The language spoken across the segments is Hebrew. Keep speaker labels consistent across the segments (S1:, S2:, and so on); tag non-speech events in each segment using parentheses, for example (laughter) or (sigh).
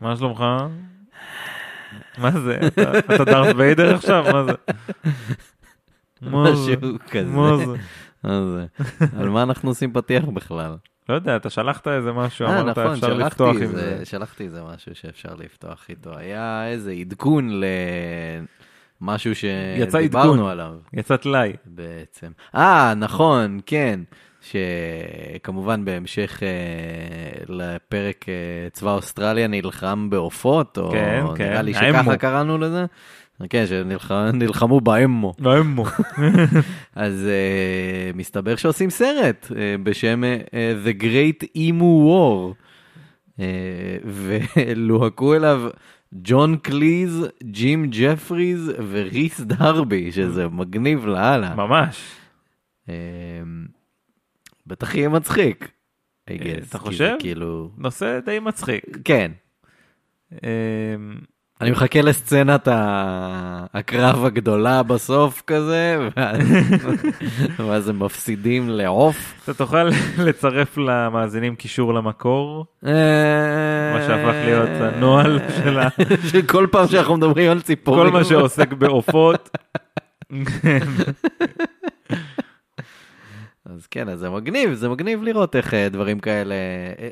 S1: מה שלומך? מה זה? אתה- אתה דארט ויידר עכשיו? מה זה? מה זה?
S2: (laughs) משהו
S1: מה
S2: כזה.
S1: זה?
S2: מה זה? על מה אנחנו עושים פתיח בכלל?
S1: לא יודע, אתה שלחת איזה משהו,
S2: אה,
S1: אמרת
S2: נכון,
S1: אפשר לפתוח
S2: שלחתי
S1: עם זה.
S2: איזה- שלחתי איזה משהו שאפשר לפתוח איתו. היה איזה עדכון למשהו
S1: עדכון.
S2: שדיברנו עליו
S1: יצא טלאי.
S2: בעצם. אה, נכון, כן. שכמובן בהמשך אה, לפרק אה, צבא אוסטרליה נלחם בעופות, או
S1: כן,
S2: נראה
S1: כן,
S2: לי
S1: האמו.
S2: שככה קראנו לזה. כן, שנלחמו באמו.
S1: לא
S2: (laughs)
S1: אמו.
S2: אז uh, מסתבר שעושים סרט uh, בשם uh, The Great Emu War, uh, ולוהקו אליו ג'ון קליז, ג'ים ג'פריז וריס דרבי, שזה מגניב לאללה.
S1: ממש.
S2: Uh, בטח יהיה מצחיק, I guess,
S1: אה, אתה
S2: כי זה
S1: חושב?
S2: כאילו...
S1: נושא די מצחיק.
S2: כן.
S1: אמ,
S2: אני מחכה לסצנת ה- הקרב הגדולה בסוף כזה, ואז,
S1: (laughs)
S2: ואז הם מפסידים לעוף.
S1: אתה תוכל (laughs) לצרף למאזינים קישור למקור?
S2: מה
S1: מה שהפך להיות הנוהל של ה-
S2: אה, (laughs) שכל פעם שאנחנו מדברים על ציפורים.
S1: כל מה שעוסק
S2: (laughs)
S1: בעופות.
S2: אז כן, אז זה מגניב, זה מגניב לראות איך אה, דברים כאלה... אה,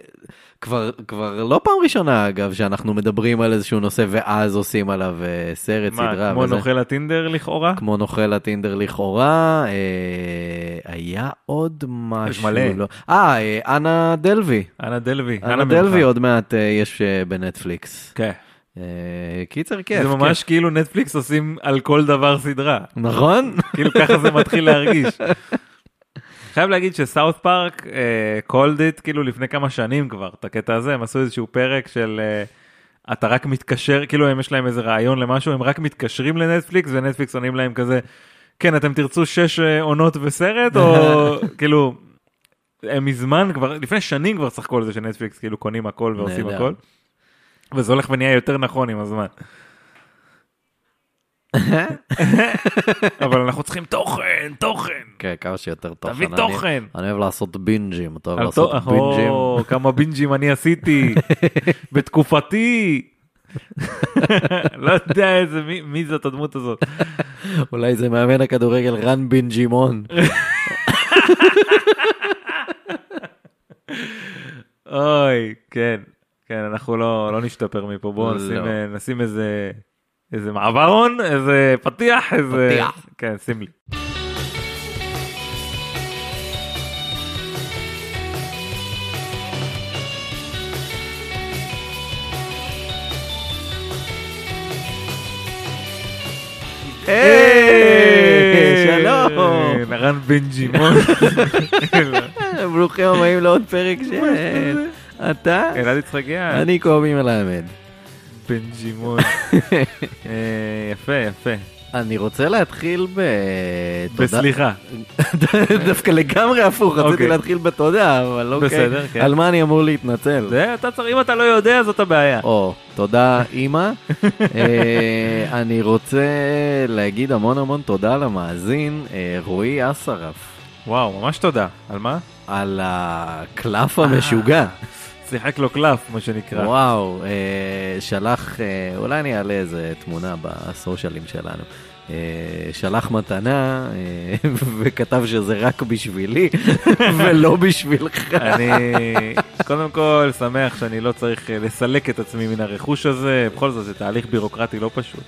S2: כבר, כבר לא פעם ראשונה, אגב, שאנחנו מדברים על איזשהו נושא ואז עושים עליו אה, סרט,
S1: מה,
S2: סדרה.
S1: כמו
S2: וזה.
S1: נוכל הטינדר לכאורה?
S2: כמו נוכל הטינדר לכאורה. אה, היה עוד משהו.
S1: מלא.
S2: לא- אה, אה, אנה דלוי.
S1: אנה דלוי.
S2: אנה
S1: מנחה.
S2: דלוי עוד מעט אה, יש אה, בנטפליקס.
S1: כן.
S2: אה, קיצר, כיף.
S1: זה
S2: כיף.
S1: ממש כאילו נטפליקס עושים על כל דבר סדרה.
S2: נכון?
S1: כאילו ככה זה מתחיל להרגיש. חייב להגיד שסאוף פארק קולד איט כאילו לפני כמה שנים כבר את הקטע הזה הם עשו איזשהו פרק של אה, אתה רק מתקשר כאילו הם יש להם איזה רעיון למשהו הם רק מתקשרים לנטפליקס ונטפליקס עונים להם כזה כן אתם תרצו שש אה, עונות וסרט או כאילו. הם מזמן כבר לפני שנים כבר צחקו על זה שנטפליקס כאילו קונים הכל ועושים
S2: נהדר.
S1: הכל. וזה הולך ונהיה יותר נכון עם הזמן. אבל אנחנו צריכים תוכן תוכן.
S2: כן, כמה שיותר תוכן.
S1: תביא
S2: אני-
S1: תוכן.
S2: אני אוהב לעשות בינג'ים, אתה אוהב
S1: על
S2: לעשות
S1: תו-
S2: בינג'ים.
S1: או, כמה בינג'ים אני
S2: (laughs)
S1: עשיתי בתקופתי. (laughs) לא יודע איזה מי- מי זאת הדמות הזאת.
S2: אולי זה מאמן הכדורגל רן בינג'ימון.
S1: אוי כן כן אנחנו לא לא נשתפר מפה בואו
S2: לא.
S1: נשים, אה, נשים איזה איזה מעברון איזה פתיח איזה
S2: פתיח.
S1: כן שים לי.
S2: היי, שלום.
S1: רן
S2: (laughs)
S1: בנג'ימון.
S2: אה, ברוכים הבאים לעוד פרק של... אתה?
S1: אלעד יצחקיה.
S2: אני קובי מלמד. (laughs)
S1: בנג'ימון. אה, יפה, יפה.
S2: אני רוצה להתחיל ב... תודה-
S1: בסליחה.
S2: (laughs) דווקא לגמרי הפוך, רציתי
S1: אוקיי.
S2: להתחיל בתודה, אבל אוקיי.
S1: בסדר, כן.
S2: על מה אני אמור להתנצל?
S1: זה, אתה צריך, אם אתה לא יודע, זאת הבעיה.
S2: או, תודה אימא. אה, אני רוצה להגיד המון המון תודה למאזין אה, רועי אסרף.
S1: וואו, ממש תודה. על מה?
S2: על הקלף המשוגע.
S1: שיחק לו אה, קלף, מה שנקרא.
S2: וואו, אה, שלח, אה, אולי אני אעלה איזה תמונה בסושיאלים שלנו. אה, שלח מתנה אה, (laughs) וכתב שזה רק בשבילי
S1: (laughs)
S2: ולא בשבילך.
S1: אני קודם כל שמח שאני לא צריך אה, לסלק את עצמי מן הרכוש הזה, בכל זאת זה תהליך ביורוקרטי לא
S2: (laughs)
S1: פשוט.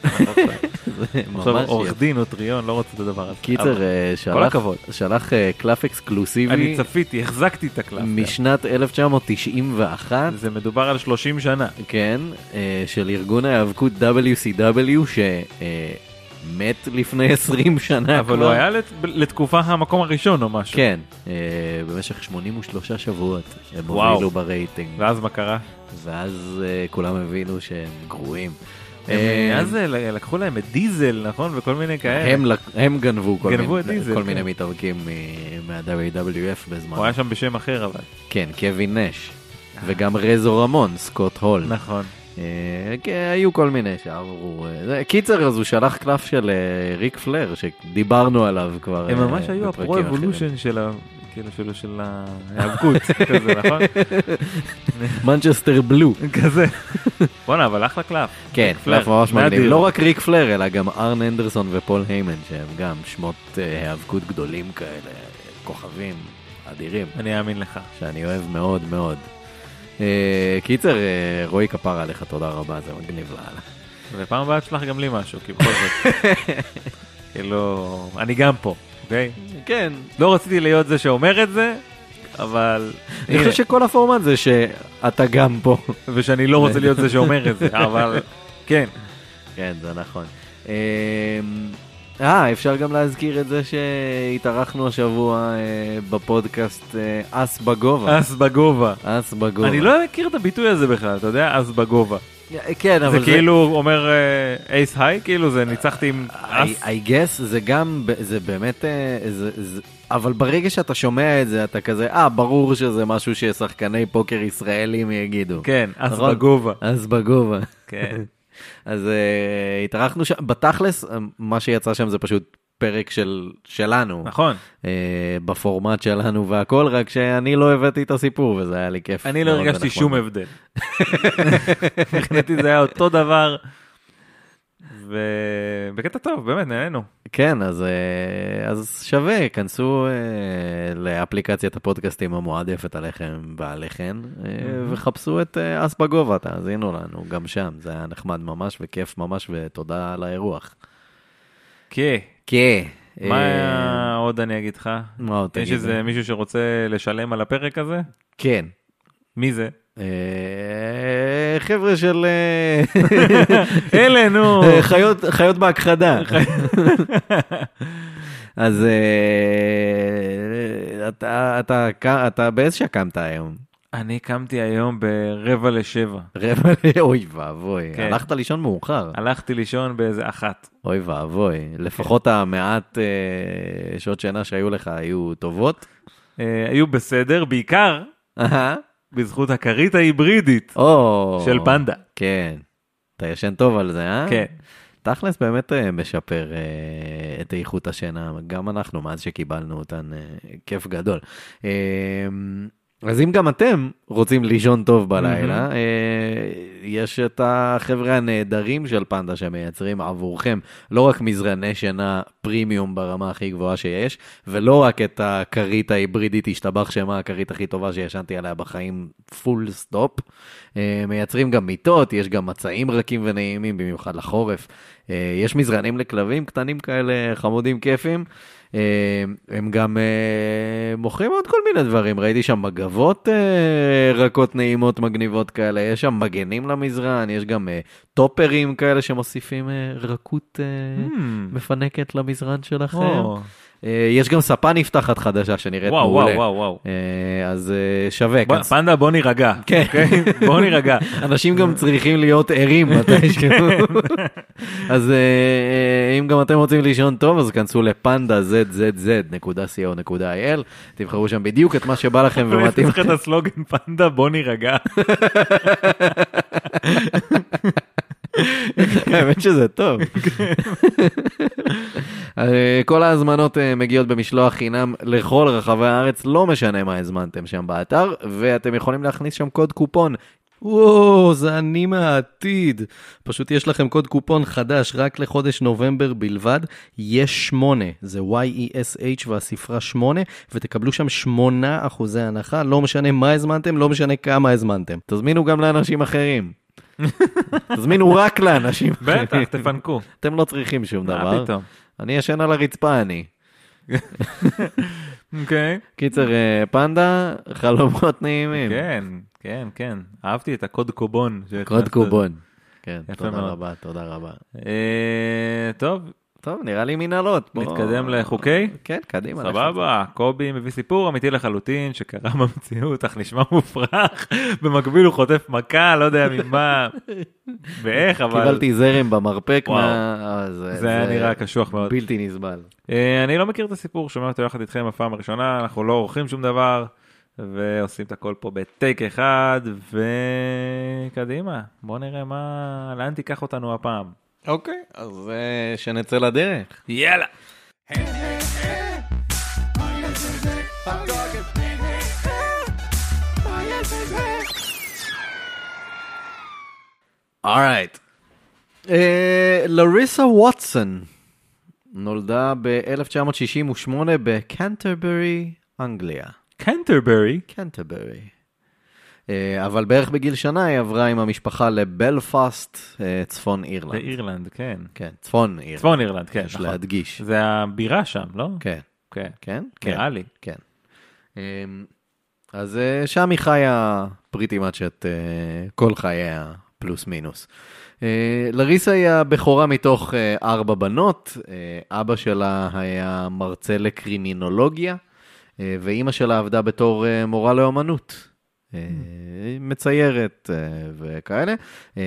S2: זה
S1: עכשיו
S2: ממש
S1: עורך
S2: יפה.
S1: דין או טריון לא רוצה את הדבר הזה.
S2: קיצר,
S1: אבל
S2: אה, שלח-
S1: הכבוד.
S2: שלח אה, קלף אקסקלוסיבי.
S1: אני צפיתי, החזקתי את הקלף.
S2: משנת 1991,
S1: זה מדובר על 30 שנה.
S2: כן, אה, של ארגון ההיאבקות WCW, שמת אה, לפני 20 שנה
S1: אבל
S2: כבר.
S1: הוא היה לת- לתקופה המקום הראשון או משהו.
S2: אה, כן, אה, במשך 83 שבועות הם
S1: וואו.
S2: הובילו ברייטינג,
S1: ואז מה קרה?
S2: ואז אה, כולם הבינו שהם גרועים.
S1: הם,
S2: אה,
S1: אה, אז אה, ל- לקחו להם את דיזל, נכון? וכל מיני כאלה.
S2: הם לק- הם גנבו כל
S1: גנבו את
S2: מיני-
S1: דיזל,
S2: כל
S1: כן.
S2: מיני מתאבקים מ- מה-WWF
S1: הוא
S2: בזמן.
S1: היה שם בשם אחר אבל.
S2: כן, קווין נש. וגם רזו רמון, סקוט הול.
S1: נכון.
S2: אה, כן, היו כל מיני שעברו. אה, זה- קיצר, אז הוא שלח קלף של אה, ריק פלר, שדיברנו עליו כבר.
S1: הם
S2: אה,
S1: ממש היו
S2: בפרקים
S1: הפרו
S2: אחרים. (laughs)
S1: אבולושן של ה... כאילו שלו של ההיאבקות, (laughs) כזה, נכון?
S2: (laughs) מנצ'סטר בלו.
S1: כזה. בואנה, אבל אחלה קלף.
S2: כן,
S1: (laughs) ריק פלר,
S2: קלף ממש
S1: נדיר.
S2: מגניב. לא רק ריק פלר, אלא גם ארן הנדרסון ופול היימן, שהם גם שמות אה, היאבקות גדולים כאלה, כוכבים אדירים,
S1: אני אאמין לך.
S2: שאני אוהב מאוד מאוד. אה, קיצר, אה, רועי כפרה עליך, תודה רבה, זה מגניב לאללה.
S1: ופעם הבאה תשלח גם לי משהו, כי בכל
S2: (laughs)
S1: זאת. כאילו, אני גם פה, אוקיי?
S2: כן.
S1: לא רציתי להיות זה שאומר את זה, אבל...
S2: אני חושב שכל הפורמט זה שאתה גם פה.
S1: ושאני לא רוצה להיות זה שאומר
S2: (laughs)
S1: את זה, אבל כן.
S2: כן, זה נכון. אמ, אה, אפשר גם להזכיר את זה שהתארחנו השבוע אה, בפודקאסט אה, אס בגובה.
S1: אס בגובה.
S2: אס בגובה.
S1: אני לא מכיר את הביטוי הזה בכלל, אתה יודע? אס בגובה.
S2: כן, אבל
S1: זה כאילו אומר אייס היי, כאילו זה ניצחתי עם אס.
S2: I, I guess זה גם, ב- זה באמת, אה, זה, זה, אבל ברגע שאתה שומע את זה, אתה כזה, אה, ברור שזה משהו ששחקני פוקר ישראלים יגידו.
S1: כן, אס
S2: נכון?
S1: בגובה.
S2: אז בגובה.
S1: כן.
S2: אז אה, התארחנו שם, בתכלס, אה, מה שיצא שם זה פשוט פרק של, שלנו.
S1: (laughs) נכון.
S2: אה, בפורמט שלנו והכל, רק שאני לא הבאתי את הסיפור וזה היה לי כיף.
S1: אני לא
S2: מאוד
S1: הרגשתי
S2: ונחמד.
S1: שום הבדל. (laughs) מבחינתי זה היה אותו דבר. ובקטע טוב, באמת, נהנינו.
S2: כן, אז, אה, אז שווה, כנסו אה, לאפליקציית הפודקאסטים המועדפת עליכם ועליכן, אה, וחפשו את אה, אס בגובה, תאזינו לנו גם שם, זה היה נחמד ממש וכיף ממש, ותודה על האירוח.
S1: כן. אה,
S2: כן.
S1: מה עוד אני אגיד לך?
S2: מה עוד
S1: יש
S2: תגיד?
S1: איזה מישהו שרוצה לשלם על הפרק הזה?
S2: כן.
S1: מי זה? (laughs)
S2: אה, חבר'ה של אה,
S1: (laughs) אלה, נו.
S2: אה, חיות- חיות בהכחדה. אז אה, אתה- אתה ק- אתה באיזה שעה קמת היום?
S1: אני קמתי היום ברבע לשבע.
S2: רבע, ל- אוי ואבוי,
S1: כן.
S2: הלכת לישון מאוחר,
S1: הלכתי לישון באיזה אחת.
S2: אוי ואבוי,
S1: כן.
S2: לפחות המעט אה, שעות שינה שהיו לך היו טובות.
S1: אה, היו בסדר, בעיקר
S2: אהה.
S1: בזכות הכרית ההיברידית
S2: או,
S1: של פנדה.
S2: כן, אתה ישן טוב על זה, אה?
S1: כן.
S2: תכלס באמת אה, משפר אה, את איכות השינה, גם אנחנו, מאז שקיבלנו אותן, אה, כיף גדול. אה, אז אם גם אתם רוצים לישון טוב בלילה, אה, יש את החבר'ה הנהדרים של פנדה שמייצרים עבורכם לא רק מזרני שינה פרימיום ברמה הכי גבוהה שיש, ולא רק את הכרית ההיברידית, השתבח שמה הכרית הכי טובה שישנתי עליה בחיים, פול סטופ. אה, מייצרים גם מיטות, יש גם מצעים רכים ונעימים, במיוחד לחורף. אה, יש מזרנים לכלבים קטנים כאלה, חמודים, כיפים. אה, הם גם אה, מוכרים עוד כל מיני דברים, ראיתי שם מגבות אה, רכות נעימות מגניבות כאלה, יש שם מגנים למזרן, יש גם אה, טופרים כאלה שמוסיפים אה, רכות אה,
S1: Hmm.
S2: מפנקת למזרן שלכם.
S1: או.
S2: אה, יש גם ספה נפתחת חדשה שנראית
S1: וואו,
S2: מעולה.
S1: וואו, וואו, וואו.
S2: אה, אז אה, שווה,
S1: בוא-
S2: כנסו.
S1: פנדה, בוא נירגע.
S2: כן.
S1: אוקיי? בוא
S2: (laughs)
S1: נירגע.
S2: אנשים גם צריכים להיות ערים מתישהו. אז אה, אה, אם גם אתם רוצים לישון טוב, אז כנסו לפנדה zzz.co.il, תבחרו שם בדיוק את מה שבא לכם
S1: (laughs) אבל יש
S2: ומתאים.
S1: לך את הסלוגן פנדה, בוא נירגע.
S2: (laughs) האמת שזה טוב. אה, כל ההזמנות אה, מגיעות במשלוח חינם לכל רחבי הארץ, לא משנה מה הזמנתם שם באתר, ואתם יכולים להכניס שם קוד קופון. וואו, זה אני מהעתיד. פשוט יש לכם קוד קופון חדש, רק לחודש נובמבר בלבד. יש שמונה, זה Y-E-S-H והספרה שמונה, ותקבלו שם שמונה אחוזי הנחה, לא משנה מה הזמנתם, לא משנה כמה הזמנתם. תזמינו גם לאנשים אחרים. (laughs) תזמינו רק לאנשים אחרים.
S1: בטח, תפנקו.
S2: אתם לא צריכים שום
S1: מה
S2: דבר.
S1: פתאום.
S2: אני ישן על הרצפה, אני.
S1: אוקיי.
S2: קיצר, אה, פנדה, חלומות נעימים.
S1: כן, כן, כן. אהבתי את הקוד קובון.
S2: קוד
S1: שהכנסת.
S2: קובון. כן,
S1: יפה
S2: תודה
S1: מאוד.
S2: רבה, תודה רבה.
S1: אה, טוב,
S2: טוב, נראה לי מנהלות. בוא-
S1: נתקדם לחוקי?
S2: כן, קדימה.
S1: סבבה, קובי מביא סיפור אמיתי לחלוטין שקרה במציאות, אך נשמע מופרך, (laughs) במקביל הוא חוטף מכה, לא יודע
S2: (laughs)
S1: ממה ואיך,
S2: לך.
S1: אבל
S2: קיבלתי זרם במרפק,
S1: וואו.
S2: מה... אה,
S1: זה היה נראה קשוח מאוד.
S2: בלתי נסבל.
S1: אה, אני לא מכיר את הסיפור, שומע אותו יחד איתכם בפעם הראשונה, אנחנו לא עורכים שום דבר, ועושים את הכל פה בטייק אחד, וקדימה, בוא נראה מה, לאן תיקח אותנו הפעם.
S2: אוקיי, אז אה, שנצא לדרך.
S1: יאללה.
S3: Hey, hey, hey, מה יש לזה? הכל
S2: אורייט. לריסה ווטסון אה, נולדה ב-1968 בקנטרברי, אנגליה.
S1: קנטרברי.
S2: קנטרברי. אה, אבל בערך בגיל שנה היא עברה עם המשפחה לבלפאסט, אה, צפון אירלנד.
S1: באירלנד, כן.
S2: כן, צפון אירלנד.
S1: צפון אירלנד, כן,
S2: יש
S1: נכון.
S2: להדגיש.
S1: זה הבירה שם, לא?
S2: כן.
S1: כן.
S2: כן?
S1: נראה לי.
S2: כן. אמ, אז אה, שם היא חיה pretty much את אה, כל חייה, פלוס מינוס. אה, לריסה היא הבכורה מתוך אה, ארבע בנות, אה, אבא שלה היה מרצה לקרימינולוגיה, אה, ואימא שלה עבדה בתור אה, מורה לאומנות. אה, היא מציירת אה, וכאלה. אה,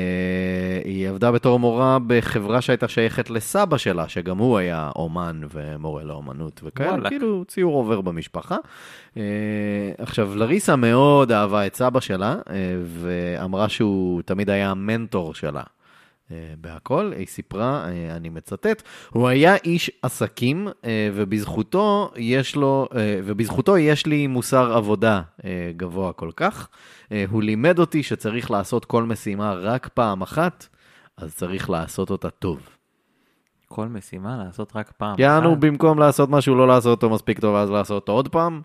S2: היא עבדה בתור מורה בחברה שהייתה שייכת לסבא שלה, שגם הוא היה אומן ומורה לאומנות וכאלה,
S1: וואלה.
S2: כאילו ציור עובר במשפחה. אה, עכשיו, לריסה מאוד אהבה את סבא שלה, אה, ואמרה שהוא תמיד היה המנטור שלה. אה, בהכל, היא סיפרה, אה, אני מצטט, הוא היה איש עסקים, אה, ובזכותו יש לו, אה, ובזכותו יש לי מוסר עבודה אה, גבוה כל כך. אה, הוא לימד אותי שצריך לעשות כל משימה רק פעם אחת, אז צריך לעשות אותה טוב.
S1: כל משימה לעשות רק פעם.
S2: יענו,
S1: אחת.
S2: במקום לעשות משהו, לא לעשות אותו מספיק טוב, אז לעשות אותו עוד פעם,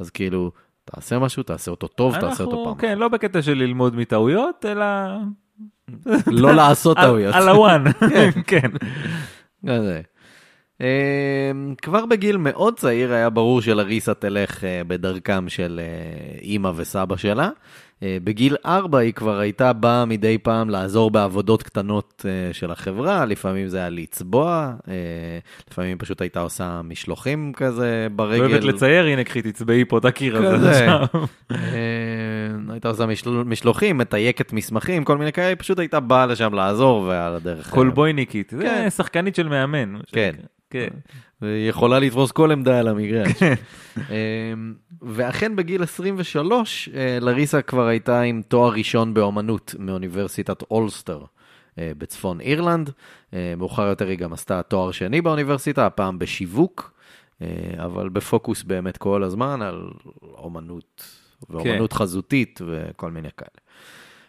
S2: אז כאילו, תעשה משהו, תעשה אותו טוב, תעשה אותו
S1: אנחנו,
S2: פעם.
S1: כן, לא בקטע של ללמוד מטעויות, אלא...
S2: לא לעשות
S1: על-
S2: טעויות.
S1: על
S2: (laughs)
S1: הוואן. כן.
S2: כזה. אמ, כבר בגיל מאוד צעיר היה ברור שלריסה תלך אה, בדרכם של אה, אימא וסבא שלה. אה, בגיל ארבע היא כבר הייתה באה מדי פעם לעזור בעבודות קטנות אה, של החברה, לפעמים זה היה לצבוע, אה, לפעמים פשוט הייתה עושה משלוחים כזה
S1: לא
S2: ברגל.
S1: אוהבת לצייר, הנה קחי תצבעי פה את הקיר הזה.
S2: כזה.
S1: עכשיו. (laughs)
S2: אה, הייתה עושה משל- משלוחים, מתייקת מסמכים, כל מיני כאלה, היא פשוט הייתה באה לשם לעזור ועל הדרך. אה,
S1: קולבויניקית.
S2: כן.
S1: זה שחקנית של מאמן. מה
S2: כן.
S1: שנקרא. כן.
S2: והיא יכולה לתפוס כל עמדה על המגרש. אמ, ואכן בגיל 23, אה, לריסה כבר הייתה עם תואר ראשון באומנות מאוניברסיטת אולסטר אה, בצפון אירלנד. אה, מאוחר יותר היא גם עשתה תואר שני באוניברסיטה, הפעם בשיווק, אה, אבל בפוקוס באמת כל הזמן על אומנות ואומנות חזותית וכל מיני כאלה.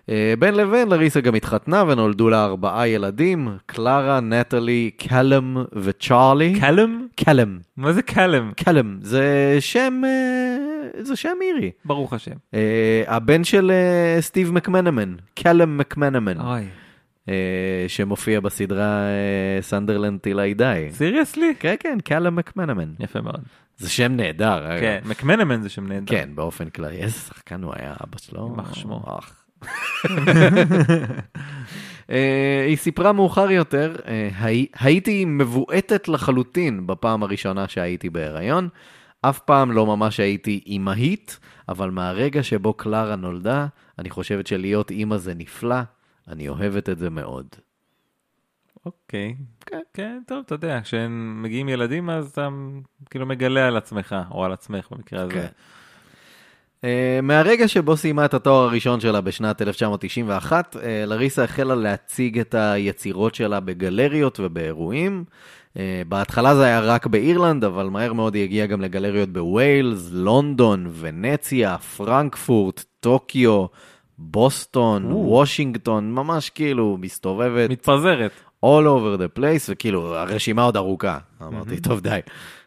S2: אה, בין לבין, לריסה גם התחתנה ונולדו לה ארבעה ילדים, קלרה, נטלי, קלם וצ'ארלי.
S1: קלם?
S2: קלם.
S1: מה זה קלם?
S2: קלם, זה שם, אה, זה שם אירי.
S1: ברוך השם.
S2: אה, הבן של אה, סטיב מקמנמן, קלם מקמנמן,
S1: אוי.
S2: אה, שמופיע בסדרה אה, סנדרלנד טילי די.
S1: סיריוסלי?
S2: כן, כן, קלם מקמנמן.
S1: יפה מאוד.
S2: זה שם נהדר. אה. אגב.
S1: כן. מקמנמן זה שם נהדר.
S2: כן, באופן כללי. איזה שחקן הוא היה, אבא שלו.
S1: יימח שמו.
S2: אח. אה, היא סיפרה מאוחר יותר, אה, "הי- הייתי מבועטת לחלוטין בפעם הראשונה שהייתי בהיריון. אף פעם לא ממש הייתי אימהית, אבל מהרגע שבו קלרה נולדה, אני חושבת שלהיות אימא זה נפלא, אני אוהבת את זה מאוד.
S1: אוקיי.
S2: כן.
S1: כן, טוב, אתה יודע, כשמגיעים ילדים אז אתה כאילו מגלה על עצמך, או על עצמך במקרה הזה.
S2: כן. אה, מהרגע שבו סיימה את התואר הראשון שלה בשנת 1991, אה, לריסה החלה להציג את היצירות שלה בגלריות ובאירועים. אה, בהתחלה זה היה רק באירלנד, אבל מהר מאוד היא הגיעה גם לגלריות בווילס, לונדון, ונציה, פרנקפורט, טוקיו, בוסטון,
S1: או.
S2: וושינגטון, ממש כאילו מסתובבת
S1: מתפזרת.
S2: all over the place, וכאילו, הרשימה עוד ארוכה. אמרתי, טוב, די.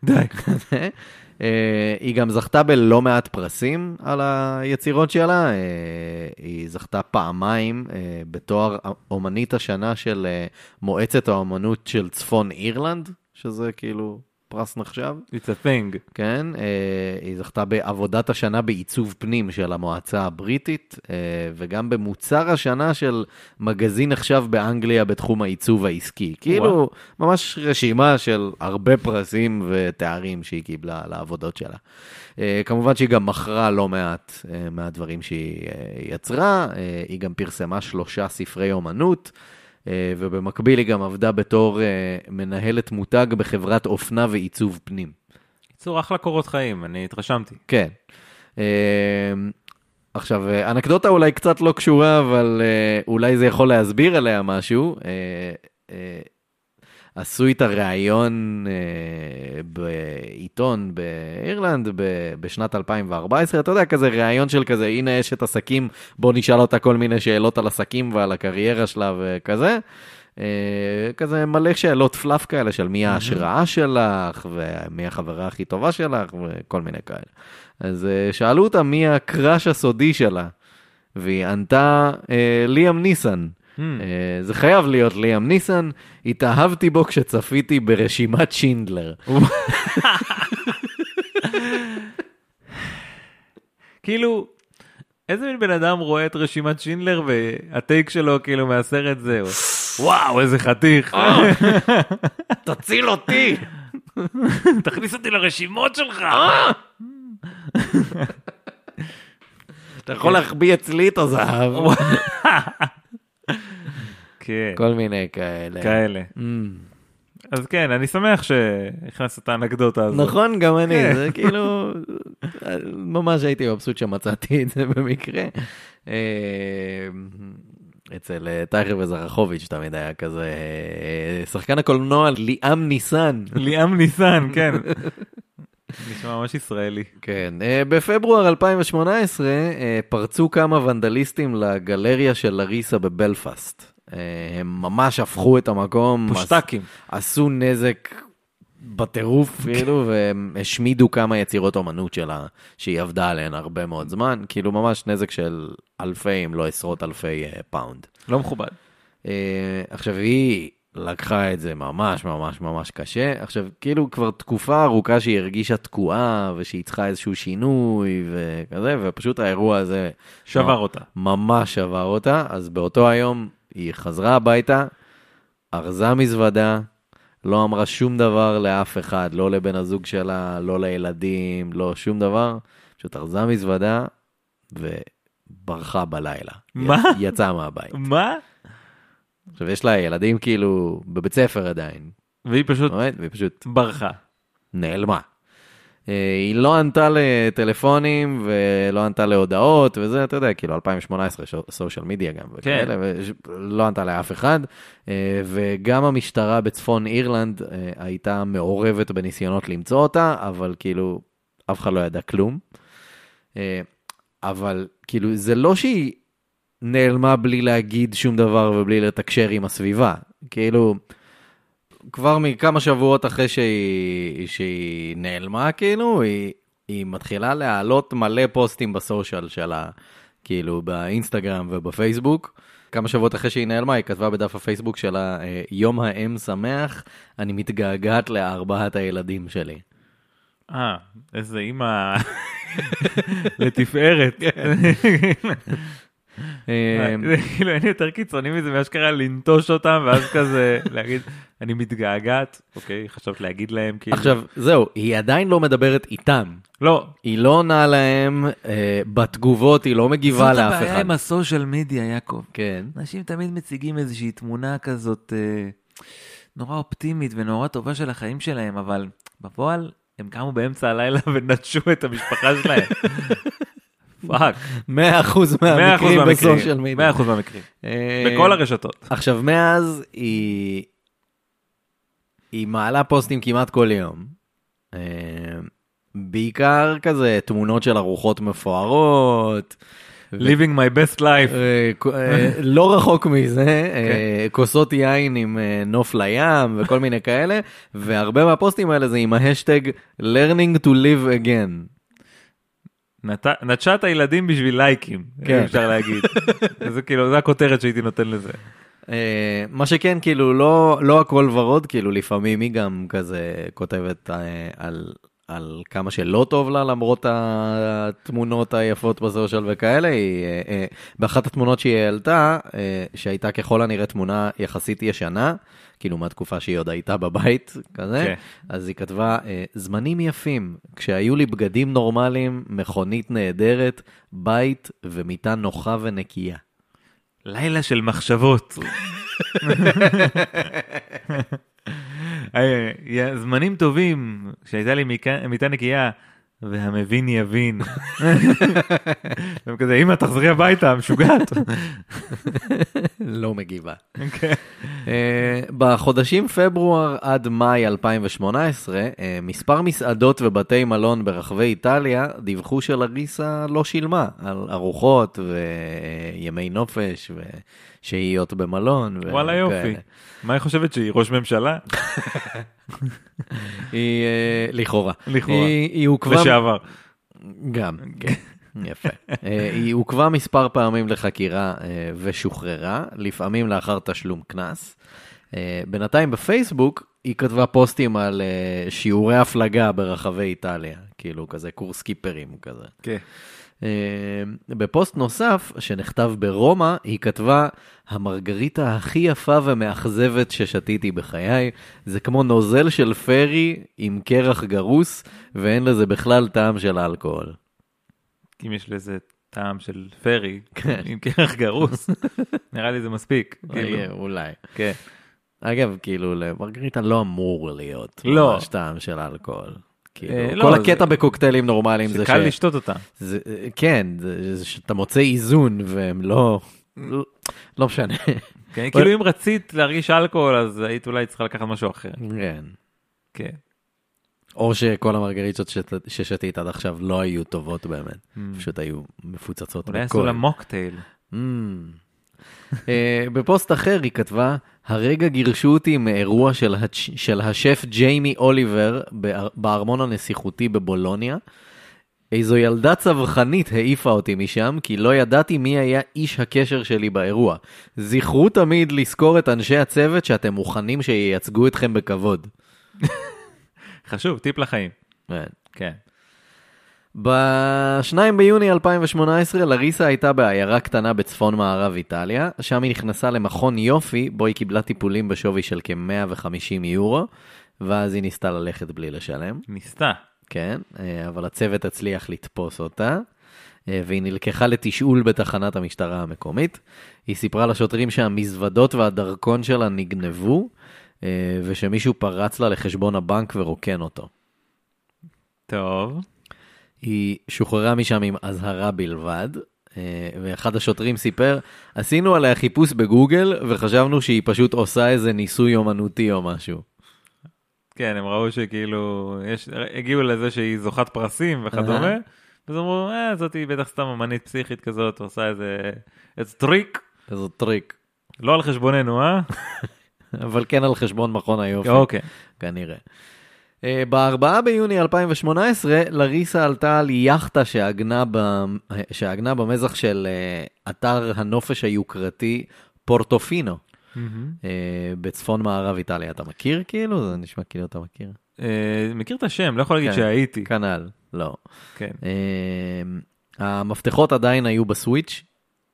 S1: די.
S2: (laughs) אה, היא גם זכתה בלא מעט פרסים על היצירות שלה. אה, היא זכתה פעמיים אה, בתואר אומנית השנה של אה, מועצת האומנות של צפון אירלנד, שזה כאילו פרס נחשב.
S1: It's a thing.
S2: כן, אה, היא זכתה בעבודת השנה בעיצוב פנים של המועצה הבריטית, אה, וגם במוצר השנה של מגזין נחשב באנגליה בתחום העיצוב העסקי. כאילו, ממש רשימה של הרבה פרסים ותארים שהיא קיבלה על העבודות שלה. אה, כמובן שהיא גם מכרה לא מעט אה, מהדברים שהיא אה, יצרה, אה, היא גם פרסמה שלושה ספרי אומנות. אה, ובמקביל היא גם עבדה בתור אה, מנהלת מותג בחברת אופנה ועיצוב פנים.
S1: קיצור, אחלה קורות חיים, אני התרשמתי.
S2: כן. אמ, עכשיו, אה, אנקדוטה אולי קצת לא קשורה, אבל אה, אולי זה יכול להסביר עליה משהו. אה, אה, עשו איתה ראיון אה, בעיתון באירלנד ב- בשנת 2014, אתה יודע, כזה ראיון של כזה, הנה אשת עסקים, בוא נשאל אותה כל מיני שאלות על עסקים ועל הקריירה שלה וכזה. אה, כזה מלא שאלות פלאף כאלה של מי ההשראה שלך, ומי החברה הכי טובה שלך, וכל מיני כאלה. אז אה, שאלו אותה מי הקראש הסודי שלה, והיא ענתה אה, ליאם ניסן.
S1: Hmm.
S2: אה, זה חייב להיות ליאם ניסן, התאהבתי בו כשצפיתי ברשימת שינדלר.
S1: כאילו, איזה מין בן אדם רואה את רשימת שינדלר והטייק שלו כאילו מהסרט זהו. וואו, איזה חתיך.
S2: (laughs) תציל אותי!
S1: תכניס אותי לרשימות שלך.
S2: אה, אתה יכול להחביא אצלי את הזהב.
S1: כן,
S2: כל מיני כאלה.
S1: כאלה.
S2: Mm.
S1: אז כן, אני שמח שהכנסת את האנקדוטה הזאת.
S2: נכון, גם אני,
S1: כן.
S2: זה כאילו, ממש הייתי מבסוט שמצאתי את זה במקרה. אה, אצל אה, טייכר וזרחוביץ' תמיד היה כזה, אה, שחקן הקולנוע ליאם ניסן.
S1: ליאם ניסן, כן. נשמע ממש ישראלי.
S2: כן, אה, בפברואר 2018 אה, פרצו כמה ונדליסטים לגלריה של לריסה בבלפאסט. אה, הם ממש הפכו את המקום.
S1: פושטקים.
S2: עש- עשו נזק בטירוף, כאילו, והם השמידו כמה יצירות אומנות שלה, שהיא עבדה עליהן הרבה מאוד זמן, כאילו ממש נזק של אלפי, אם לא עשרות אלפי אה, פאונד.
S1: לא מכובד.
S2: אה, עכשיו, היא לקחה את זה ממש ממש ממש קשה. עכשיו, כאילו כבר תקופה ארוכה שהיא הרגישה תקועה, ושהיא צריכה איזשהו שינוי וכזה, ופשוט האירוע הזה
S1: שבר אותה.
S2: ממש שבר אותה. אז באותו היום היא חזרה הביתה, ארזה מזוודה, לא אמרה שום דבר לאף אחד, לא לבן הזוג שלה, לא לילדים, לא שום דבר. פשוט ארזה מזוודה וברחה בלילה.
S1: מה?
S2: יצאה מהבית.
S1: מה?
S2: עכשיו, יש לה ילדים כאילו בבית ספר עדיין,
S1: והיא פשוט
S2: באמת, והיא פשוט
S1: ברחה.
S2: נעלמה. אה, היא לא ענתה לטלפונים ולא ענתה להודעות וזה, אתה יודע, כאילו 2018, סושיאל מדיה גם, וכאלה, ולא ענתה לאף אחד. אה, וגם המשטרה בצפון אירלנד אה, הייתה מעורבת בניסיונות למצוא אותה, אבל כאילו, אף אחד לא ידע כלום. אה, אבל כאילו, זה לא שהיא נעלמה בלי להגיד שום דבר ובלי לתקשר עם הסביבה. כאילו, כבר מכמה שבועות אחרי שהיא, שהיא נעלמה, כאילו, היא, היא מתחילה להעלות מלא פוסטים בסושיאל שלה, כאילו, באינסטגרם ובפייסבוק. כמה שבועות אחרי שהיא נעלמה, היא כתבה בדף הפייסבוק שלה, אה, יום האם שמח, אני מתגעגעת לארבעת הילדים שלי.
S1: אה, איזה אימא (laughs) לתפארת. כן. (laughs)
S2: אה,
S1: זה כאילו אין יותר קיצוני מזה מאשכרה לנטוש אותם ואז כזה להגיד אני מתגעגעת אוקיי חשבת להגיד להם כאילו
S2: עכשיו, זהו, היא עדיין לא מדברת איתם.
S1: לא.
S2: היא לא עונה להם, אה, בתגובות היא לא מגיבה לאף אחד.
S1: הסושיאל מדיה יעקב.
S2: כן.
S1: אנשים תמיד מציגים איזושהי תמונה כזאת אה, נורא אופטימית ונורא טובה של החיים שלהם אבל בפועל הם קמו באמצע הלילה (laughs) ונטשו את המשפחה שלהם. (laughs) פאק.
S2: 100% מהמקרים בסושיאל מדיה.
S1: 100% מהמקרים.
S2: אה,
S1: בכל הרשתות.
S2: עכשיו, מאז היא... היא מעלה פוסטים כמעט כל יום. אה, בעיקר כזה תמונות של ארוחות מפוארות. ו-
S1: living my best life.
S2: אה, כ- אה, לא רחוק מזה, אה, כוסות יין עם אה, נוף לים וכל מיני כאלה, והרבה מהפוסטים האלה זה עם ההשטג learning to live again.
S1: נת- נטשה את הילדים בשביל לייקים,
S2: כן.
S1: אפשר
S2: (laughs)
S1: להגיד. זה כאילו, זה הכותרת שהייתי נותן לזה.
S2: אה, מה שכן, כאילו, לא, לא הכל ורוד, כאילו, לפעמים היא גם כזה כותבת אה, על, על כמה שלא טוב לה, למרות התמונות היפות בסושיאל וכאלה. היא, אה, אה, באחת התמונות שהיא העלתה, אה, שהייתה ככל הנראה תמונה יחסית ישנה, כאילו, מהתקופה שהיא עוד הייתה בבית, כזה,
S1: כן.
S2: אז היא כתבה, אה, זמנים יפים, כשהיו לי בגדים נורמליים, מכונית נהדרת, בית ומיטה נוחה ונקייה.
S1: לילה של
S2: (laughs)
S1: מחשבות. אה, זמנים טובים, כשהייתה לי מיטה- מיטה נקייה, והמבין
S2: (laughs)
S1: יבין. הם כזה, אמא, תחזרי הביתה,
S2: (laughs)
S1: משוגעת.
S2: לא מגיבה.
S1: כן.
S2: אה, בחודשים פברואר עד מאי 2018, אה, מספר מסעדות ובתי מלון ברחבי איטליה דיווחו שלריסה לא שילמה על ארוחות וימי נופש ושהיות במלון. ו- כן.
S1: וואלה יופי.
S2: כאלה.
S1: מה היא חושבת שהיא ראש ממשלה?
S2: היא, אה, לכאורה.
S1: לכאורה.
S2: היא, היא עוכבה...
S1: לשעבר.
S2: גם, כן. יפה. אה, היא עוכבה מספר פעמים לחקירה אה, ושוחררה, לפעמים לאחר תשלום קנס. אה, בינתיים בפייסבוק היא כתבה פוסטים על אה, שיעורי הפלגה ברחבי איטליה, כאילו כזה קורס קיפרים כזה.
S1: כן.
S2: אה, בפוסט נוסף שנכתב ברומא, היא כתבה, המרגריטה הכי יפה ומאכזבת ששתיתי בחיי, זה כמו נוזל של פרי עם קרח גרוס, ואין לזה בכלל טעם של אלכוהול.
S1: אם יש לזה טעם של פרי,
S2: כן.
S1: עם קרח
S2: (laughs)
S1: גרוס, נראה לי זה מספיק. כאילו.
S2: אולי, אולי.
S1: כן.
S2: אגב, כאילו, למרגריטה לא אמור להיות
S1: לא.
S2: ממש טעם של אלכוהול. כאילו,
S1: אה, לא,
S2: כל
S1: זה-
S2: הקטע בקוקטיילים נורמליים זה
S1: שקל לשתות אותה.
S2: זה, כן, זה, זה שאתה מוצא איזון והם לא... לא משנה.
S1: כן, כאילו אם רצית להרגיש אלכוהול, אז היית אולי צריכה לקחת משהו אחר.
S2: כן.
S1: כן.
S2: או שכל המרגריטות שת- ששתית עד עכשיו לא היו טובות באמת, פשוט היו מפוצצות
S1: Mm. Hmm. אולי עשו לה מוקטייל.
S2: Mm. אה, בפוסט אחר היא כתבה, הרגע גירשו אותי מאירוע של, הש... של השף ג'יימי אוליבר באר- בארמון הנסיכותי בבולוניה. איזו ילדה צווחנית העיפה אותי משם, כי לא ידעתי מי היה איש הקשר שלי באירוע. זכרו תמיד לזכור את אנשי הצוות שאתם מוכנים שייצגו אתכם בכבוד.
S1: חשוב, טיפ לחיים.
S2: כן.
S1: כן.
S2: ב-2 ביוני 2018 לריסה הייתה בעיירה קטנה בצפון מערב איטליה, שם היא נכנסה למכון יופי, בו היא קיבלה טיפולים בשווי של כ-150 יורו, ואז היא ניסתה ללכת בלי לשלם,
S1: ניסתה.
S2: כן, אה, אבל הצוות הצליח לתפוס אותה, אה, והיא נלקחה לתשאול בתחנת המשטרה המקומית. היא סיפרה לשוטרים שהמזוודות והדרכון שלה נגנבו, אה, ושמישהו פרץ לה לחשבון הבנק ורוקן אותו.
S1: טוב.
S2: היא שוחררה משם עם אזהרה בלבד, אה, ואחד השוטרים סיפר, עשינו עליה חיפוש בגוגל, וחשבנו שהיא פשוט עושה איזה ניסוי אומנותי או משהו.
S1: כן, הם ראו שכאילו, יש, הגיעו לזה שהיא זוכת פרסים וכדומה,
S2: אהה.
S1: אז אמרו, אה, זאת היא בטח סתם אמנית פסיכית כזאת, עושה איזה, איזה טריק,
S2: איזה טריק. (laughs)
S1: לא על חשבוננו, אה?
S2: אבל כן על חשבון מכון היופי,
S1: אוקיי.
S2: כנראה. אה, ב-4 ביוני 2018, לריסה עלתה על יאכטה שעגנה, ב... אה, שעגנה במזח של אה, אתר הנופש היוקרתי פורטופינו, אה, בצפון מערב איטליה. אתה מכיר כאילו? זה נשמע כאילו אתה מכיר.
S1: אה, מכיר את השם, לא יכול להגיד
S2: כן.
S1: שהייתי.
S2: כנ"ל, לא.
S1: כן.
S2: אמ, המפתחות עדיין היו בסוויץ',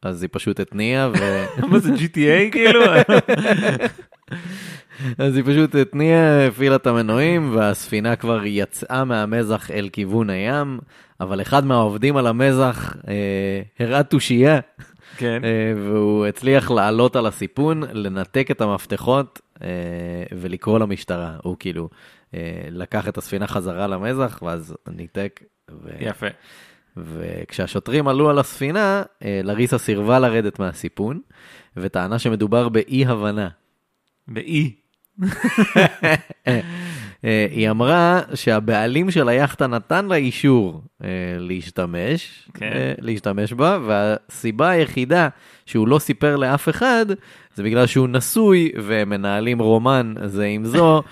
S2: אז היא פשוט התניעה, ו...
S1: (laughs)
S2: (laughs)
S1: מה זה GTA (laughs) כאילו?
S2: אז היא פשוט התניעה, הפעילה את המנועים, והספינה כבר יצאה מהמזח אל כיוון הים, אבל אחד מהעובדים על המזח אה, הראה תושייה,
S1: כן.
S2: אה, והוא הצליח לעלות על הסיפון, לנתק את המפתחות אה, ולקרוא למשטרה. הוא כאילו אה, לקח את הספינה חזרה למזח, ואז ניתק. ו-
S1: אה, יפה.
S2: וכשהשוטרים עלו על הספינה, אה, לריסה סירבה לרדת מהסיפון, וטענה שמדובר באי-הבנה.
S1: באי.
S2: אה, היא אמרה שהבעלים של היאכטה נתן לה אישור אה, להשתמש,
S1: כן.
S2: אה, להשתמש בה, והסיבה היחידה שהוא לא סיפר לאף אחד, זה בגלל שהוא נשוי ומנהלים רומן זה עם זו,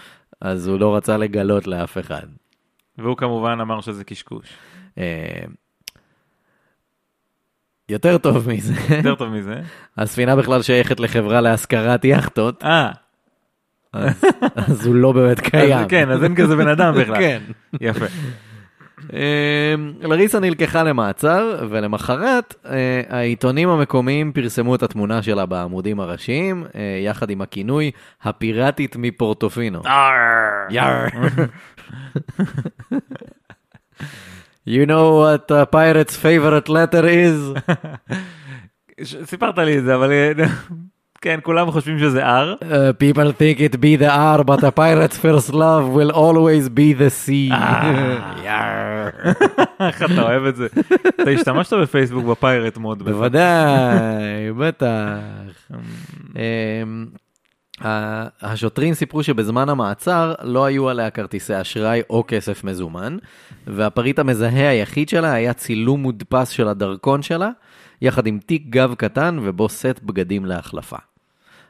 S2: אז הוא לא רצה לגלות לאף אחד.
S1: והוא כמובן אמר שזה
S2: (laughs)
S1: קשקוש.
S2: אה, יותר טוב מזה.
S1: (laughs) יותר טוב מזה.
S2: הספינה בכלל שייכת לחברה להשכרת יאכטות,
S1: אה,
S2: אז, אז הוא לא באמת קיים.
S1: אז- כן, אז אין כזה בן אדם בכלל.
S2: (laughs) כן.
S1: יפה.
S2: אמ, לריסה נלקחה למעצר, ולמחרת אה, העיתונים המקומיים פרסמו את התמונה שלה בעמודים הראשיים, אה, יחד עם הכינוי הפיראטית מפורטופינו. (laughs) יאר. You know what a pirate's favorite letter is?
S1: ש- סיפרת לי את זה, אבל אה, (laughs) כן, כולם חושבים שזה R.
S2: Uh, people think it be the R, but a pirate's first love will always be the
S1: (laughs)
S2: sea. (laughs)
S1: אה.
S2: (laughs) יאר.
S1: (laughs) איך אתה אוהב את זה. אתה השתמשת בפייסבוק בפיירט מוד. בטח.
S2: בוודאי, בטח. אמ, ה- השוטרים סיפרו שבזמן המעצר לא היו עליה כרטיסי אשראי או כסף מזומן, והפריט המזהה היחיד שלה היה צילום מודפס של הדרכון שלה, יחד עם תיק גב קטן ובו סט בגדים להחלפה.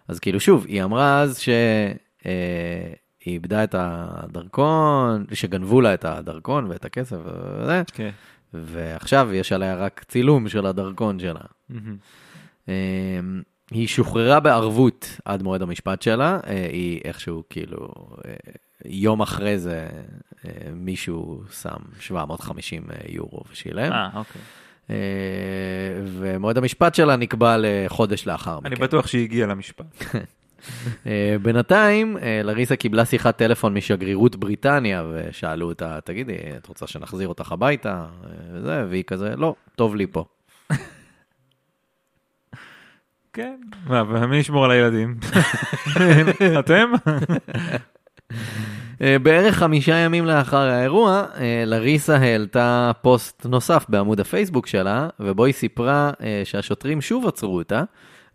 S2: אז כאילו שוב, היא אמרה אז שהיא איבדה את הדרכון, שגנבו לה את הדרכון ואת הכסף וזה,
S1: כן.
S2: ועכשיו יש עליה רק צילום של הדרכון שלה.
S1: מהמם.
S2: אמ, היא שוחררה בערבות עד מועד המשפט שלה, אה, היא איכשהו כאילו, אה, יום אחרי זה אה, מישהו שם 750 אה, יורו ושילם,
S1: אה, אוקיי.
S2: אה, ומועד המשפט שלה נקבע לחודש לאחר
S1: אני
S2: מכן.
S1: בטוח שהיא הגיעה למשפט.
S2: אה, בינתיים, אה, לריסה קיבלה שיחת טלפון משגרירות בריטניה, ושאלו אותה, תגידי, את רוצה שנחזיר אותך הביתה? אה, וזה, והיא כזה, לא, טוב לי פה.
S1: כן. מה, ומי ישמור על הילדים? (laughs) אתם?
S2: (laughs) אה, בערך חמישה ימים לאחר האירוע, אה, לריסה העלתה פוסט נוסף בעמוד הפייסבוק שלה, ובו היא סיפרה אה, שהשוטרים שוב עצרו אותה,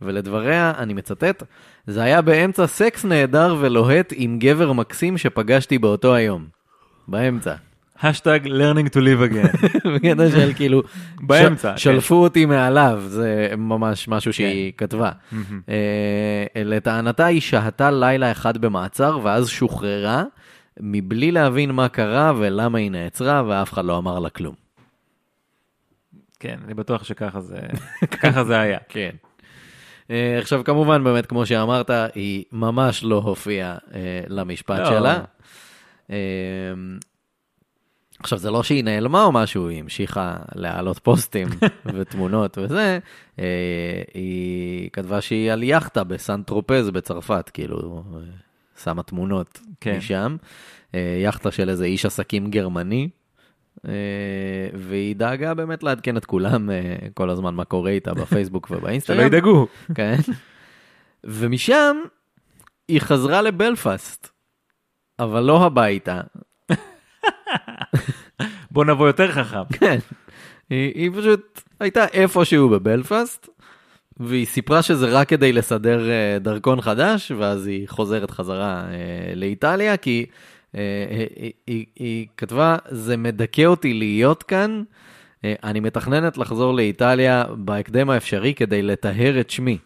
S2: ולדבריה, אני מצטט, זה היה באמצע סקס נהדר ולוהט עם גבר מקסים שפגשתי באותו היום. באמצע.
S1: השטג learning to live again. (laughs)
S2: בקטע של כאילו,
S1: באמצע,
S2: ש-
S1: כן.
S2: שלפו אותי מעליו, זה ממש משהו שהיא כתבה. אה, לטענתה היא שהתה לילה אחד במעצר ואז שוחררה, מבלי להבין מה קרה ולמה היא נעצרה ואף אחד לא אמר לה כלום.
S1: כן, אני בטוח שככה זה ככה זה
S2: (laughs)
S1: היה.
S2: כן. אה, עכשיו כמובן באמת כמו שאמרת היא ממש לא הופיעה אה, למשפט
S1: לא.
S2: שלה. אה, עכשיו זה לא שהיא נעלמה או משהו, היא המשיכה להעלות
S1: (laughs)
S2: פוסטים ותמונות וזה, אה, היא כתבה שהיא על יאכטה בסן טרופז בצרפת, כאילו אה, שמה תמונות
S1: כן.
S2: משם, אה, יאכטה של איזה איש עסקים גרמני. אה, והיא דאגה באמת לעדכן את כולם אה, כל הזמן מה קורה איתה בפייסבוק
S1: שלא
S2: ובאינסטגרם.
S1: ידאגו.
S2: כן. ומשם היא חזרה לבלפאסט, אבל לא הביתה.
S1: בוא נבוא יותר חכם.
S2: כן. היא, היא פשוט הייתה איפשהו בבלפאסט, והיא סיפרה שזה רק כדי לסדר אה, דרכון חדש, ואז היא חוזרת חזרה אה, לאיטליה, כי אה, אה, היא, היא, היא כתבה, זה מדכא אותי להיות כאן, אה, אני מתכננת לחזור לאיטליה בהקדם האפשרי כדי לטהר את שמי.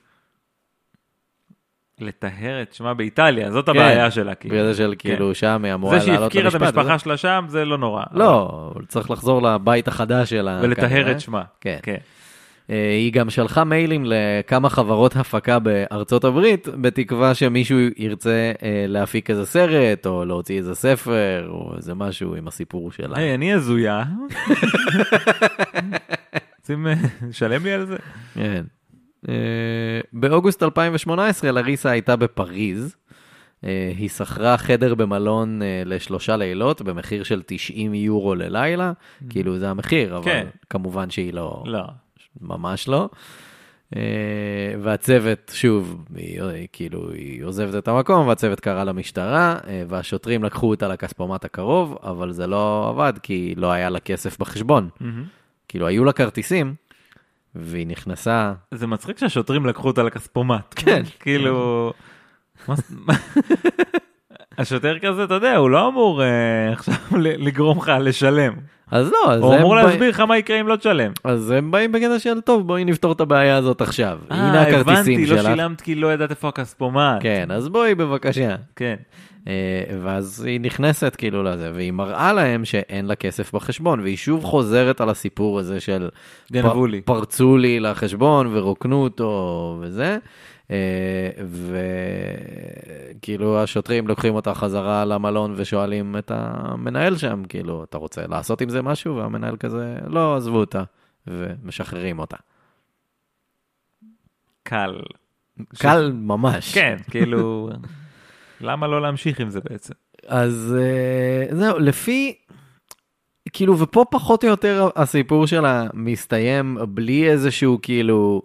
S1: לטהר את שמה באיטליה, זאת הבעיה שלה. כאילו.
S2: כן. בגלל זה של
S1: כן.
S2: כאילו שם היא אמורה
S1: זה
S2: לעלות
S1: שהיא
S2: למשפט.
S1: הפקירה את המשפחה
S2: וזה-
S1: שלה שם, זה לא נורא.
S2: לא, צריך לחזור לבית החדש שלה.
S1: ולטהר
S2: כנראה.
S1: את שמה.
S2: כן.
S1: כן.
S2: אה, היא גם שלחה מיילים לכמה חברות הפקה בארצות הברית, בתקווה שמישהו ירצה אה, להפיק איזה סרט, או להוציא איזה ספר, או איזה משהו עם הסיפור שלה.
S1: היי, אני
S2: (laughs)
S1: הזויה. רוצים אה, לשלם לי על זה?
S2: כן. אה, באוגוסט 2018 לריסה הייתה בפריז. אה, היא שכרה חדר במלון אה, לשלושה לילות במחיר של 90 יורו ללילה, כאילו זה המחיר, אבל
S1: כן.
S2: כמובן שהיא לא,
S1: לא.
S2: ממש לא. אה, והצוות, שוב, היא, היא, כאילו, היא עוזבת את המקום, והצוות קרא למשטרה, אה, והשוטרים לקחו אותה לכספומט הקרוב, אבל זה לא עבד, כי לא היה לה כסף בחשבון. כאילו, היו לה כרטיסים, והיא נכנסה,
S1: זה מצחיק שהשוטרים לקחו אותה לכספומט.
S2: כן.
S1: (laughs) כאילו... מה זה- מה-
S2: (laughs)
S1: השוטר כזה, אתה יודע, הוא לא אמור אה, עכשיו ל- לגרום לך לשלם.
S2: אז לא, אז
S1: הוא אמור
S2: בא-
S1: להסביר לך מה יקרה אם לא תשלם.
S2: אז הם באים בקטע של, טוב, בואי נפתור את הבעיה הזאת עכשיו. הנה
S1: אה,
S2: הכרטיסים
S1: הבנתי, לא
S2: שלך.
S1: שילמת כי לא ידעת איפה הכספומט.
S2: כן, אז בואי בבקשה.
S1: כן.
S2: אה, ואז היא נכנסת כאילו לזה, והיא מראה להם שאין לה כסף בחשבון, והיא שוב חוזרת על הסיפור הזה של
S1: גנבו לי.
S2: פרצו לי לחשבון ורוקנו אותו וזה, אה, וכאילו השוטרים לוקחים אותה חזרה למלון ושואלים את המנהל שם, כאילו, אתה רוצה לעשות עם זה משהו? והמנהל כזה, לא, עזבו אותה, ומשחררים אותה.
S1: קל.
S2: קל ממש.
S1: כן, כאילו... למה לא להמשיך עם זה בעצם?
S2: אז אה, זהו, לפי, כאילו, ופה פחות או יותר הסיפור שלה מסתיים בלי איזשהו כאילו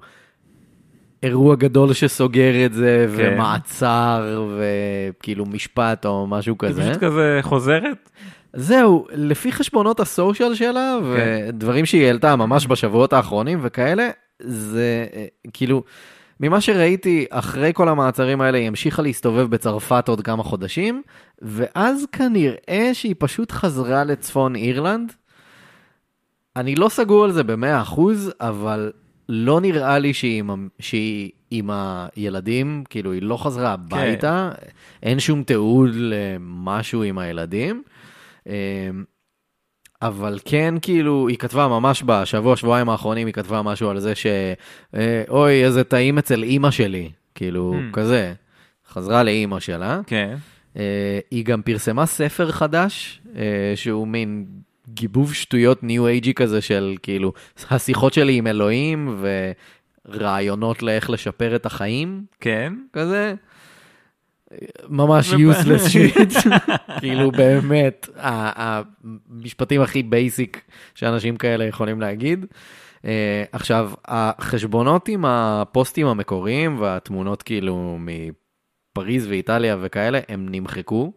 S2: אירוע גדול שסוגר את זה,
S1: כן.
S2: ומעצר, וכאילו משפט או משהו
S1: היא
S2: כזה.
S1: פשוט כזה חוזרת.
S2: זהו, לפי חשבונות הסושיאל שלה,
S1: כן.
S2: ודברים שהיא העלתה ממש בשבועות האחרונים וכאלה, זה אה, כאילו, ממה שראיתי, אחרי כל המעצרים האלה, היא המשיכה להסתובב בצרפת עוד כמה חודשים, ואז כנראה שהיא פשוט חזרה לצפון אירלנד. אני לא סגור על זה במאה אחוז, אבל לא נראה לי שהיא עם, ה- שהיא עם הילדים, כאילו, היא לא חזרה הביתה, כן. אין שום תיעוד למשהו עם הילדים. אמ, אבל כן, כאילו, היא כתבה ממש בשבוע, שבועיים האחרונים, היא כתבה משהו על זה ש... אה, אוי, איזה טעים אצל אימא שלי, כאילו,
S1: Hmm.
S2: כזה. חזרה לאימא שלה.
S1: כן.
S2: אה, היא גם פרסמה ספר חדש, אה, שהוא מין גיבוב שטויות ניו אייג'י כזה של כאילו, השיחות שלי עם אלוהים ורעיונות לאיך לשפר את החיים,
S1: כן.
S2: כזה. ממש
S1: וב-
S2: useless shit, כאילו באמת, ה- המשפטים הכי בייסיק שאנשים כאלה יכולים להגיד. אה, עכשיו, החשבונות עם הפוסטים המקוריים והתמונות כאילו מפריז ואיטליה וכאלה, הם נמחקו.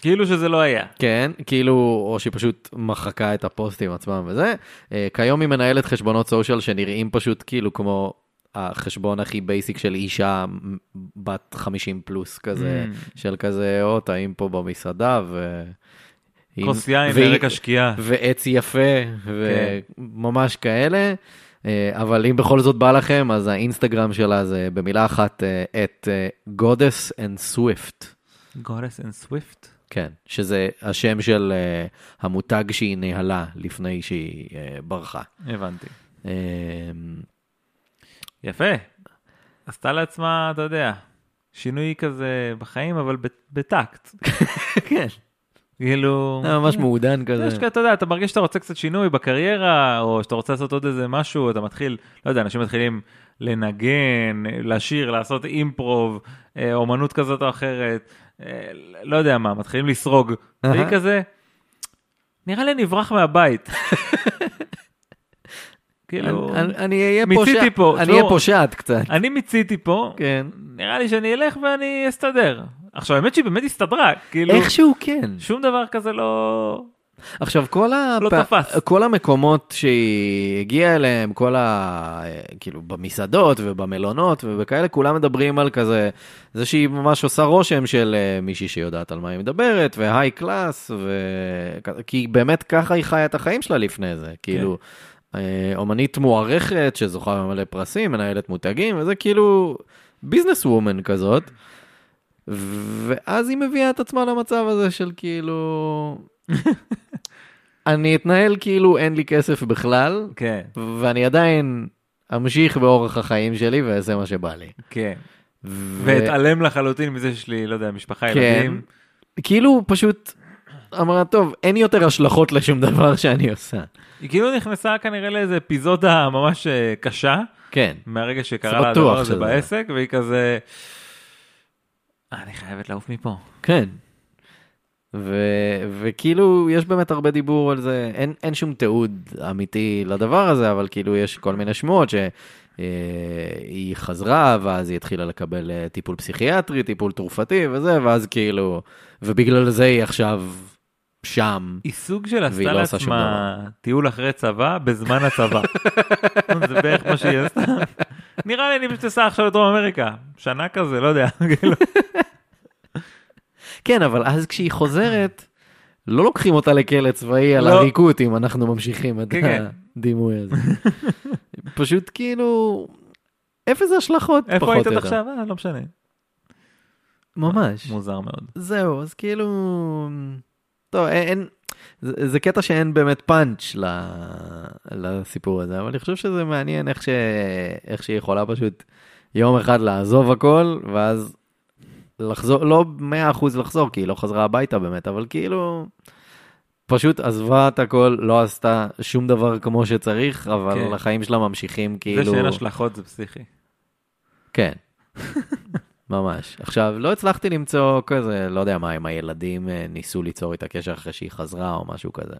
S1: כאילו שזה לא היה.
S2: כן, כאילו, או שהיא פשוט מחקה את הפוסטים עצמם וזה. אה, כיום היא מנהלת חשבונות סושיאל שנראים פשוט כאילו כמו החשבון הכי בייסיק של אישה מ- בת 50 פלוס כזה,
S1: Mm.
S2: של כזה, או טעים פה במסעדה, ו...
S1: כוס יין
S2: והיא-
S1: לרקע שקיעה.
S2: ועץ יפה,
S1: כן.
S2: וממש כאלה. אה, אבל אם בכל זאת בא לכם, אז האינסטגרם שלה זה במילה אחת, אה, את אה, Goddess and Swift.
S1: גודס אנד סוויפט.
S2: כן, שזה השם של uh, המותג שהיא ניהלה לפני שהיא uh, ברחה.
S1: הבנתי.
S2: Um,
S1: יפה. עשתה לעצמה, אתה יודע, שינוי כזה בחיים, אבל ב- בטקט.
S2: כן,
S1: כאילו...
S2: זה אה, ממש מעודן
S1: יש
S2: כזה.
S1: כאלה, אתה יודע, אתה מרגיש שאתה רוצה קצת שינוי בקריירה, או שאתה רוצה לעשות עוד איזה משהו, אתה מתחיל, לא יודע, אנשים מתחילים לנגן, לשיר, לעשות אימפרוב, אה, אומנות כזאת או אחרת, אה, לא יודע מה, מתחילים לסרוג.
S2: אהה.
S1: והיא כזה, נראה לי נברח מהבית. (laughs) כאילו,
S2: אני- אני- אני אהיה
S1: מיציתי
S2: פושע-
S1: פה, לא-
S2: אני
S1: תשמעו.
S2: אהיה פושעת קצת.
S1: אני מיציתי פה,
S2: כן.
S1: נראה לי שאני אלך ואני אסתדר. עכשיו, האמת שהיא באמת הסתדרה, כאילו,
S2: איכשהו כן.
S1: שום דבר כזה לא...
S2: עכשיו, כל, הפ...
S1: לא תפס.
S2: כל המקומות שהיא הגיעה אליהם, כל ה... כאילו, במסעדות ובמלונות ובכאלה, כולם מדברים על כזה, זה שהיא ממש עושה רושם של אה, מישהי שיודעת על מה היא מדברת, והיי קלאס, ו... כי באמת ככה היא חיה את החיים שלה לפני
S1: כן.
S2: זה, כאילו, אה, אומנית מוערכת שזוכה במלא פרסים, מנהלת מותגים, וזה כאילו ביזנס וומן כזאת. ואז היא מביאה את עצמה למצב הזה של כאילו, אני אתנהל כאילו אין לי כסף בכלל,
S1: כן,
S2: ואני עדיין אמשיך באורח החיים שלי ואעשה מה שבא לי.
S1: כן.
S2: ו-
S1: ואתעלם לחלוטין מזה שיש לי, לא יודע, משפחה,
S2: כן.
S1: ילדים.
S2: כאילו פשוט אמרה, טוב, אין יותר השלכות לשום דבר שאני עושה.
S1: היא כאילו נכנסה כנראה לאיזה אפיזודה ממש אה, קשה,
S2: כן,
S1: מהרגע שקרה
S2: זה
S1: לה
S2: בטוח
S1: הדבר הזה
S2: שזה.
S1: בעסק, והיא כזה... "אה, אני חייבת לעוף מפה.
S2: כן. ו- וכאילו, יש באמת הרבה דיבור על זה, אין, אין שום תיעוד אמיתי לדבר הזה, אבל כאילו יש כל מיני שמועות שהיא היא חזרה, ואז היא התחילה לקבל אה, טיפול פסיכיאטרי, טיפול תרופתי וזה, ואז כאילו, ובגלל זה היא עכשיו שם.
S1: היא סוג של עשתה
S2: והיא לא עושה שום
S1: לעצמה טיול אחרי צבא בזמן
S2: (laughs)
S1: הצבא. זה בערך מה שהיא עשתה. נראה לי אני פשוט אסע עכשיו לדרום אמריקה. שנה כזה, לא יודע. (laughs) כאילו.
S2: כן, אבל אז כשהיא חוזרת, לא לוקחים אותה לכלא צבאי על
S1: לא.
S2: עריקות, אם אנחנו ממשיכים את
S1: כן, כן.
S2: הדימוי
S1: (laughs)
S2: הזה. פשוט כאילו, אפס השלכות, פחות או
S1: איפה היית עד
S2: יותר.
S1: עכשיו? אה, לא משנה.
S2: ממש.
S1: מוזר מאוד.
S2: זהו, אז כאילו... טוב, אין- אין... זה, זה קטע שאין באמת פאנץ' ל... לסיפור הזה, אבל אני חושב שזה מעניין איך, ש... איך שהיא יכולה פשוט יום אחד לעזוב הכל, ואז לחזור, לא 100% לחזור, כי היא לא חזרה הביתה באמת, אבל כאילו... פשוט עזבה את הכל, לא עשתה שום דבר כמו שצריך, אבל
S1: כן.
S2: כן. החיים שלה ממשיכים כאילו... אה,
S1: זה שאין השלכות זה פסיכי.
S2: כן. ממש. עכשיו, לא הצלחתי למצוא כזה, לא יודע מה, אם הילדים אה, ניסו ליצור איתה קשר אחרי שהיא חזרה או משהו כזה.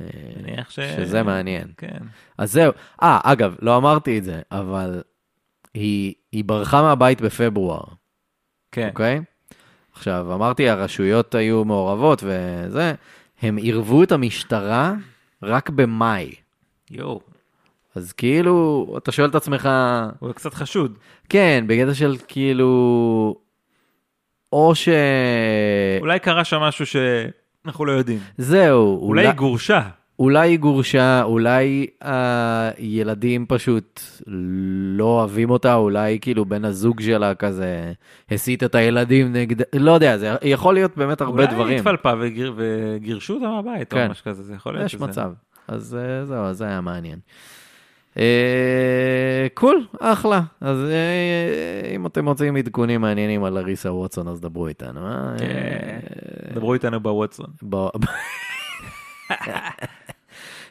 S2: אה,
S1: מניח ש...
S2: שזה מעניין.
S1: כן.
S2: אז זהו. אה, אגב, לא אמרתי את זה, אבל היא, היא ברחה מהבית בפברואר,
S1: כן.
S2: אוקיי? עכשיו, אמרתי, הרשויות היו מעורבות וזה, הם עירבו את המשטרה רק במאי.
S1: יואו,
S2: אז כאילו, אתה שואל את עצמך,
S1: הוא קצת חשוד.
S2: כן, בקטע של כאילו, או ש...
S1: אולי קרה שם משהו שאנחנו לא יודעים.
S2: זהו,
S1: אולי היא גורשה.
S2: אולי היא גורשה, אולי הילדים פשוט לא אוהבים אותה, אולי כאילו בן הזוג שלה כזה הסית את הילדים נגד... לא יודע, זה יכול להיות באמת הרבה
S1: אולי היא
S2: דברים.
S1: התפלפה וגיר- וגירשו אותה מהבית או
S2: כן.
S1: משהו כזה, זה יכול להיות.
S2: יש
S1: שזה-
S2: מצב. אז אה, זהו, אז זה היה מעניין. אה, קול, אחלה. אז אה, אם אתם רוצים עדכונים מעניינים על אריסה ווטסון, אז דברו איתנו. אה?
S1: כן.
S2: אה,
S1: דברו איתנו בוואטסון.
S2: בוא...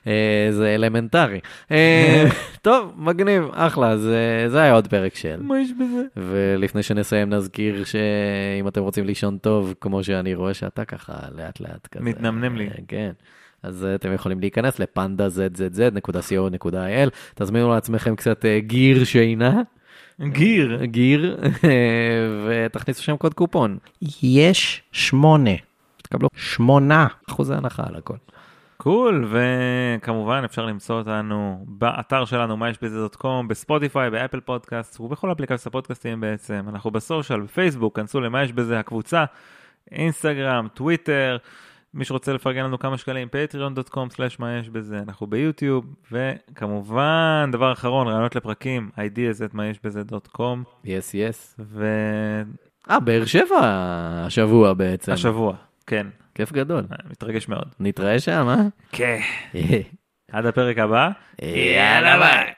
S2: אה, זה אלמנטרי. אה, טוב, מגניב, אחלה, אז אה, זה היה עוד פרק של.
S1: מה יש בזה?
S2: ולפני שנסיים נזכיר שאם אתם רוצים לישון טוב, כמו שאני רואה שאתה ככה לאט לאט כזה.
S1: מתנמנם לי.
S2: אה, כן. אז אה, אתם יכולים להיכנס לפנדה.zzz.co.il, תזמינו לעצמכם קצת אה, גיר שינה,
S1: גיר.
S2: גיר, (laughs) אה, ותכניסו שם קוד קופון.
S3: יש שמונה.
S2: תקבלו
S3: שמונה.
S2: אחוזי הנחה על הכל.
S1: קול, וכמובן אפשר למצוא אותנו באתר שלנו, מה יש בזה דוט קום, בספוטיפיי, באפל פודקאסט, ובכל אפליקציות הפודקאסטים בעצם. אנחנו בסושיאל, בפייסבוק, כנסו למה יש בזה הקבוצה, אינסטגרם, טוויטר, מי שרוצה לפרגן לנו כמה שקלים, patreon.com/מה יש בזה, אנחנו ביוטיוב, וכמובן, דבר אחרון, רעיונות לפרקים, ideas at מה יש בזה דוט קום,
S2: יס יס.
S1: והשבוע,
S2: אה, באר שבע השבוע בעצם.
S1: כן,
S2: כיף גדול.
S1: מתרגש מאוד.
S2: נתראה שם, אה? (laughs)
S1: כן. עד הפרק הבא.
S2: יאללה ביי.